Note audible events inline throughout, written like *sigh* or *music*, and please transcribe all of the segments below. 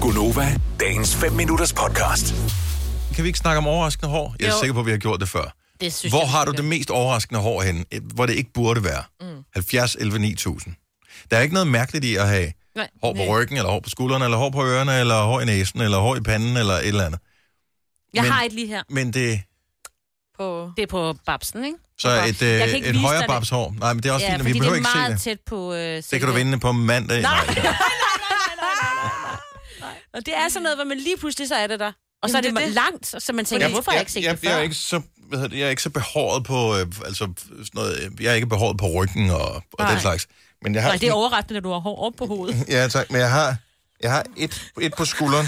Gunova, dagens 5 minutters podcast. Kan vi ikke snakke om overraskende hår? Jeg er Jo. sikker på, at vi har gjort det før. Det synes Hvor jeg, har vi du skal. det mest overraskende hår henne, eh, hvor det ikke burde være? Mm. 70, 11, 9000. Der er ikke noget mærkeligt i at have Nej, hår på nej. ryggen, eller hår på skuldrene, eller hår på ørerne, eller hår i næsen, eller hår i panden, eller et eller andet. Jeg Men- har et lige her Men det på... Det er på babsen, ikke? så er et, Jeg kan øh, ikke et vise højere dig det. babshår. Nej, men det er også Ja, ja, fint, og fordi vi behøver det ikke er se meget det. tæt på... Øh, Det kan du vinde på mandag. Nej. Nej. Og det er sådan noget, hvor man lige pludselig så er det der. Og så er det, Jamen, det er det det. langt, og så man tænker, hvorfor har *laughs* jeg ikke set jeg, det før? jeg, jeg er ikke så, hvad hedder det, jeg er ikke så behåret på, øh, altså sådan noget, øh, jeg er ikke behåret på ryggen og, og den Nej. slags. Men jeg har Nej, det er sådan- overraskende, når du har hår op på hovedet. Ja, tak. Men jeg har, jeg har et, et på skulderen,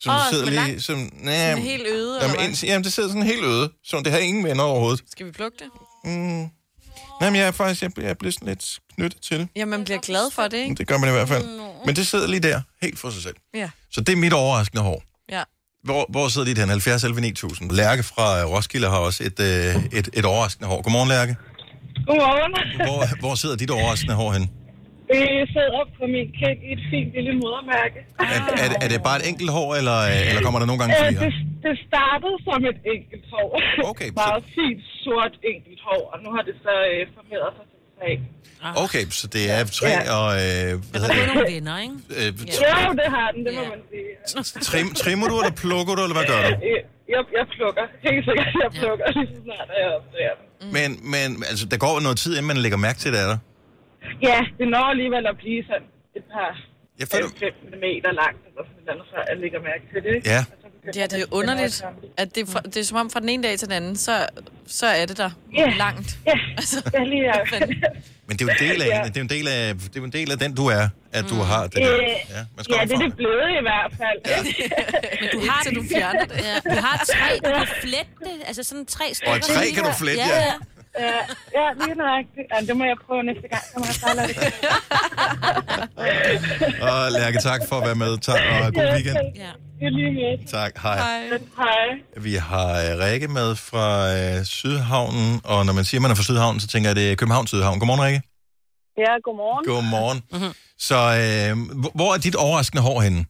som Åh, oh, sidder men lige... langt. Som, næh, Sådan helt øde, eller jamen, hvad? ind, jamen, det sidder sådan helt øde, som det har ingen venner overhovedet. Skal vi plukke det? Nej, men jeg er faktisk jeg, jeg er blevet sådan lidt knyttet til. Ja, man bliver glad for det, ikke? Det gør man i hvert fald. Men det sidder lige der, helt for sig selv. Ja. Så det er mit overraskende hår. ja. Hvor, hvor sidder dit hen? 70 11 9000. Lærke fra øh, Roskilde har også et, øh, et, et overraskende hår. Godmorgen, Lærke. Godmorgen. Hvor, hvor sidder dit overraskende hår hen? Vi sidder op på min kæk i et fint lille modermærke. Er, er, det- er det bare et enkelt hår, eller, øh, eller kommer der nogle gange Øh, flere? Det, det startede som et enkelt hår. Okay, så- Meget fint sort enkelt hår, og nu har det så øh, formeret sig til tre. Okay, så det er tre Ja. og... Øh, hvad Du hedder er det? nogle venner, ikke? Øh, Jo, det har den, det må Ja. man sige. Trim, trimmer du, eller plukker du, eller hvad gør du? Øh, Jeg, jeg plukker. Helt sikkert, jeg plukker lige så snart, at jeg opdager den. Men, men altså, der går jo noget tid, inden man lægger mærke til det, er der. Ja, det når alligevel at blive sådan et par Jeg føler, 5 meter langt, eller sådan et eller andet, før jeg lægger mærke til det. ikke? Ja. Og så begynder Ja, det er at- underligt, at det er, fra, det er som om fra den ene dag til den anden, så, så er det der Ja. langt. Ja, Altså, ja *laughs* lige hvad fanden? men det er jo en del af, Ja. det er jo en del af, det er jo en del af den, du er, at du har det der. Øh, Ja, man skal Ja, det er det omfavne blevet i hvert fald. Du har, Indtil du fjerner det. Ja, du har tre, du kan flette det. Altså sådan tre stykker. Og tre kan du flette, ja. ja. Ja, ja, lige nøjagtigt. Ja, det må jeg prøve næste gang, så må jeg fejle det. Og Lærke, tak for at være med. Tak, og god weekend. ja. Det er lige med. Tak, hej. Ej. Hej. Vi har øh, Rikke med fra øh, Sydhavnen, og når man siger, man er fra Sydhavnen, så tænker jeg, det er København Sydhavn. Godmorgen, Rikke. Ja, godmorgen. Godmorgen. Mm-hmm. Så øh, hvor- hvor er dit overraskende hår henne?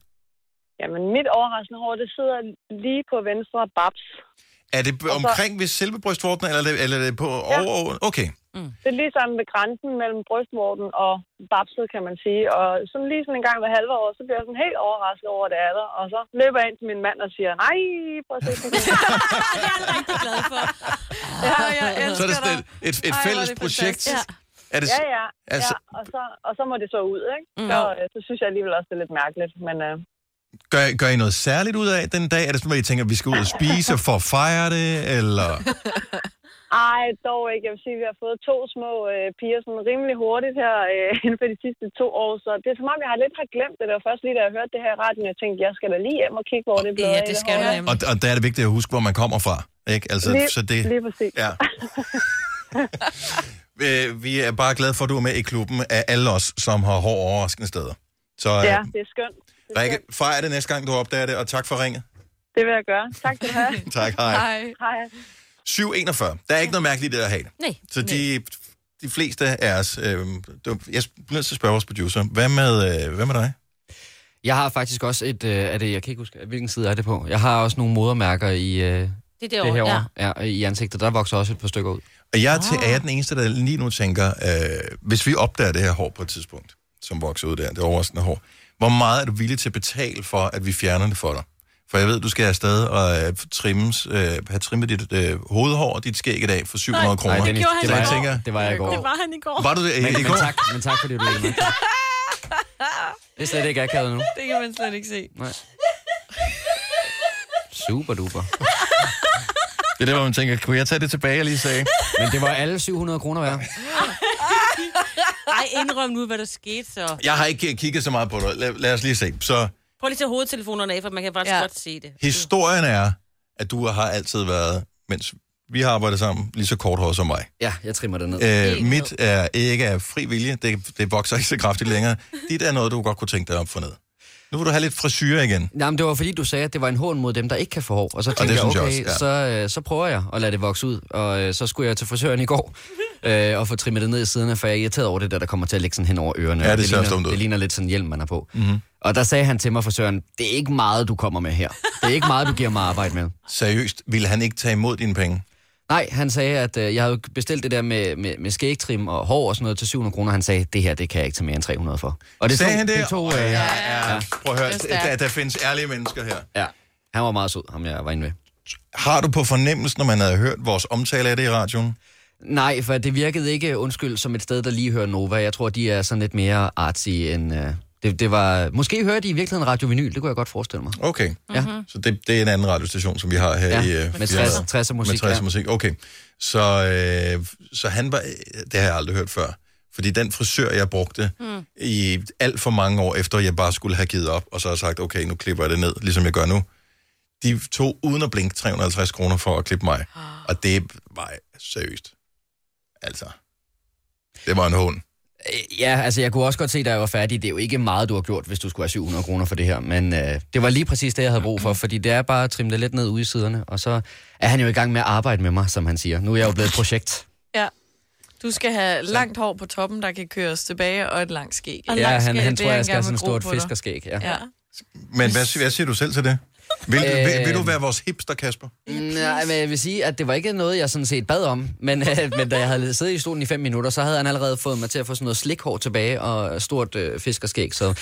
Jamen, mit overraskende hår, det sidder lige på venstre babs. Er det Altså- b- omkring ved selve brystvorten, eller er det, eller er det på ja. over? Okay. Det er ligesom ved grænsen mellem brystvorten og babset, kan man sige. Og sådan lige sådan en gang hver halve år, så bliver jeg sådan helt overrasket over, at det er der. Og så løber jeg ind til min mand og siger, nej, prøv at se. *laughs* den der." Det er jeg rigtig glad for. Ja, jeg Så er elsker det dig. sådan et, et, et Ej, hvor er fælles det projekt. fantastisk. Ja. Er det, Ja, ja. Altså- Altså... ja og, så, og så må det så ud, ikke? Mm. Så, øh, så synes jeg alligevel også, det er lidt mærkeligt. Men øh, gør, gør I noget særligt ud af den dag? Er det sådan, at I tænker, at vi skal ud og spise for at fejre det? Eller? Ej, dog ikke. Jeg vil sige, at vi har fået to små øh, piger sådan rimelig hurtigt her øh, *laughs* inden for de sidste to år, så det er som om, jeg har lidt har glemt det. Det var først lige, da jeg hørte det her i radioen, jeg tænkte, jeg skal da lige hjem og kigge, hvor det blev Ja, af det skal du hår. nemlig. Og, og der er det vigtigt at huske, hvor man kommer fra. Ikke? Altså, Lige, så det, lige præcis. *laughs* ja. Øh, vi er bare glade for, at du er med i klubben af alle os, som har hårde overraskende steder. Så Ja, ja. det er skønt. Det, er Rikke, skønt. fejr det næste gang, du opdager det, og tak for ringet. det vil jeg gøre. Tak skal du *laughs* have. Tak, hej. Ej. Hej. 741. Der er ikke noget mærkeligt i det at have det. Nej. Så de, de fleste af os... Øh, du- jeg bliver nødt til at spørge vores producer. Hvad med, øh, hvad med dig? Jeg har faktisk også et, øh, er det, jeg kan ikke huske, hvilken side er det på. Jeg har også nogle modermærker i øh, det, Det er det, det år, her ja. år, ja. i ansigtet. Der vokser også et par stykker ud. Og jeg er, Ah. til, er jeg den eneste, der lige nu tænker, øh, hvis vi opdager det her hår på et tidspunkt, som vokser ud der, det overraskende hår, hvor meget er du villig til at betale for, at vi fjerner det for dig? For jeg ved, du skal afsted og øh, trimmes, øh, have trimmet dit øh, hovedhår og dit skæg i dag for 700 Nej, kroner. Nej, Dennis, gjorde han det, i var jeg, går. tænker, det var jeg i går. Det var han i går. var du det Men, øh, i men, går? tak, men tak, fordi du lavede mig. Det er slet ikke akavet nu. Det kan man slet ikke se. Nej. Super duper. Det er der, hvor man tænker, kunne jeg tage det tilbage, jeg lige sagde? Men det var alle 700 kroner værd. Ej, indrøm nu, hvad der skete så. Jeg har ikke øh, kigget så meget på det. Lad, lad os lige se. Så Prøv lige at tage hovedtelefonerne af, for man kan faktisk Ja. godt se det. historien er, at du har altid været, mens vi har arbejdet sammen, lige så kort hår som mig. Ja, jeg trimmer det ned. Øh, mit er ikke af fri vilje, det, det vokser ikke så kraftigt længere. Dit er noget, du godt kunne tænke dig op for ned. Nu vil du have lidt frisyre igen. Nej, men det var fordi, du sagde, at det var en hån mod dem, der ikke kan få hår. Og så det tænkte jeg, synes okay, jeg jeg også, ja. så, øh, så prøver jeg at lade det vokse ud. Og øh, så skulle jeg til frisøren i går øh, og få trimmet det ned i siderne, for jeg er irriteret over det der, der kommer til at ligge sådan hen over ørerne. Ja, det Og ser også ligner, dumt ud. Mhm. det ligner lidt sådan en hjelm, man har på. Mm-hmm. Og der sagde han til mig for Søren, det er ikke meget, du kommer med her. Det er ikke meget, du giver mig arbejde med. Seriøst, ville han ikke tage imod dine penge? Nej, han sagde, at øh, jeg havde jo bestilt det der med, med, med skægtrim og hår og sådan noget til 700 kroner. Han sagde, det her, det kan jeg ikke tage mere end 300 for. Og det Sagde tog, han det? det tog, øh, Åh, ja. ja. Prøv at høre, Det er stærkt. der, der findes ærlige mennesker her. ja. Han var meget sød, ham jeg var inde ved. Har du på fornemmelsen, når man havde hørt vores omtale af det i radioen? Nej, for det virkede ikke, undskyld, som et sted, der lige hører Nova. Jeg tror, de er sådan lidt mere artsy end... Øh, det, det var, måske hørte de i virkeligheden Radio Vinyl, det kunne jeg godt forestille mig. Okay. Ja. Så det, det er en anden radiostation, som vi har her Ja, i... øh, med firmaet. 60, 60 musik. Med 60 ja. musik, okay. Så, øh, så han var... Det har jeg aldrig hørt før. Fordi den frisør, jeg brugte mm. i alt for mange år efter, jeg bare skulle have givet op, og så har sagt, okay, nu klipper jeg det ned, ligesom jeg gør nu. De tog uden at blinke 350 kroner for at klippe mig. Og det var seriøst. Altså. Det var en hån. Øh, Ja, altså jeg kunne også godt se, da jeg var færdig, det er jo ikke meget, du har gjort, hvis du skulle have 700 kroner for det her, men øh, det var lige præcis det, jeg havde brug for, fordi det er bare at trimme det lidt ned ude i siderne, og så er han jo i gang med at arbejde med mig, som han siger. Nu er jeg jo blevet et projekt. Ja. Du skal have langt hår på toppen, der kan køres tilbage, og et langt skæg. Og Ja, langt han, skæg, han det tror, er jeg en skal have sådan gammel et stort gro på dig. fiskerskæg. Ja. Ja. Men hvad, hvad siger du selv til det? Vil, øh... vil, vil du være vores hipster, Kasper? Nej, men jeg vil sige, at det var ikke noget, jeg sådan set bad om, men, øh, men da jeg havde siddet i stolen i fem minutter, så havde han allerede fået mig til at få sådan noget slikhår tilbage og stort øh, fiskerskæg, så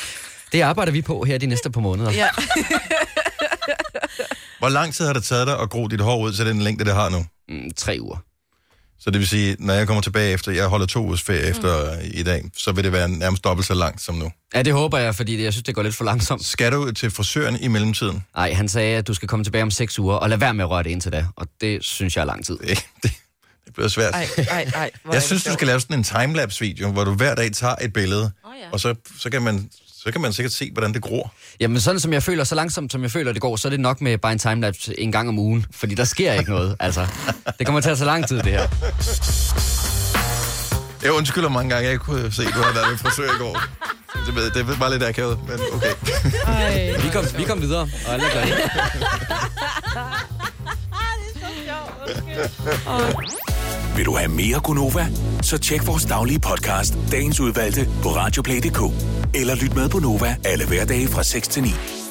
det arbejder vi på her de næste par måneder. ja. Hvor lang tid har det taget dig at gro dit hår ud til den længde, det har nu? Mm, tre uger. Så det vil sige, når jeg kommer tilbage efter, jeg holder to ugers ferie efter øh, i dag, så vil det være nærmest dobbelt så langt som nu. Ja, det håber jeg, fordi det- jeg synes, det går lidt for langsomt. Skal du til frisøren i mellemtiden? Nej, han sagde, at du skal komme tilbage om 6 uger, og lad være med at røre det indtil da. Og det synes jeg er lang tid. Det, det, det bliver svært. Ej, ej, ej. hvor er jeg det synes, du sjovt. skal lave sådan en timelapse-video, hvor du hver dag tager et billede, Åh, ja. og så, så, kan man, så kan man sikkert se, hvordan det gror. Jamen sådan som jeg føler, så langsomt som jeg føler, det går, så er det nok med bare en timelapse en gang om ugen. Fordi der sker ikke noget, altså. Det kommer til at tage lang tid, det her. Jeg undskylder mange gange, jeg ikke kunne se, at du havde været ved frisør i går. Det, ved- det var lidt akavet, men okay. Vi kom, vi kom videre, og alle er glade. Vil du have mere Gunova? Så tjek vores daglige podcast, dagens udvalgte, på radioplay.dk. Eller lyt med på Nova alle hverdage fra 6 til 9.